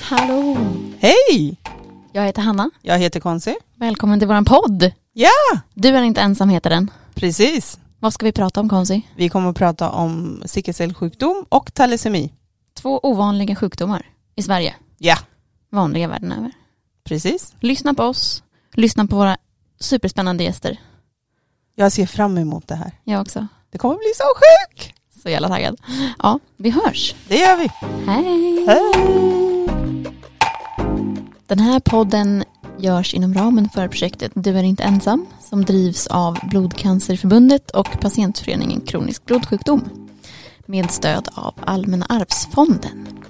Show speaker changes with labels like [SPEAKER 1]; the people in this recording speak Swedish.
[SPEAKER 1] Hallå!
[SPEAKER 2] Hej!
[SPEAKER 1] Jag heter Hanna.
[SPEAKER 2] Jag heter Konsi.
[SPEAKER 1] Välkommen till våran podd.
[SPEAKER 2] Ja,
[SPEAKER 1] Du är inte ensam heter den.
[SPEAKER 2] precis.
[SPEAKER 1] Vad ska vi prata om Konsi?
[SPEAKER 2] Vi kommer att prata om sickelcellsjukdom och talasemi.
[SPEAKER 1] Två ovanliga sjukdomar i Sverige.
[SPEAKER 2] Ja,
[SPEAKER 1] Vanliga världen över.
[SPEAKER 2] precis.
[SPEAKER 1] Lyssna på oss. Lyssna på våra superspännande gäster.
[SPEAKER 2] Jag ser fram emot det här.
[SPEAKER 1] Jag också.
[SPEAKER 2] Det kommer bli så sjukt.
[SPEAKER 1] Så jävla taggad. Ja, vi hörs.
[SPEAKER 2] Det gör vi.
[SPEAKER 1] Hej!
[SPEAKER 2] Hej!
[SPEAKER 1] Den här podden görs inom ramen för projektet Du är inte ensam som drivs av Blodcancerförbundet och patientföreningen Kronisk blodsjukdom med stöd av Allmänna arvsfonden.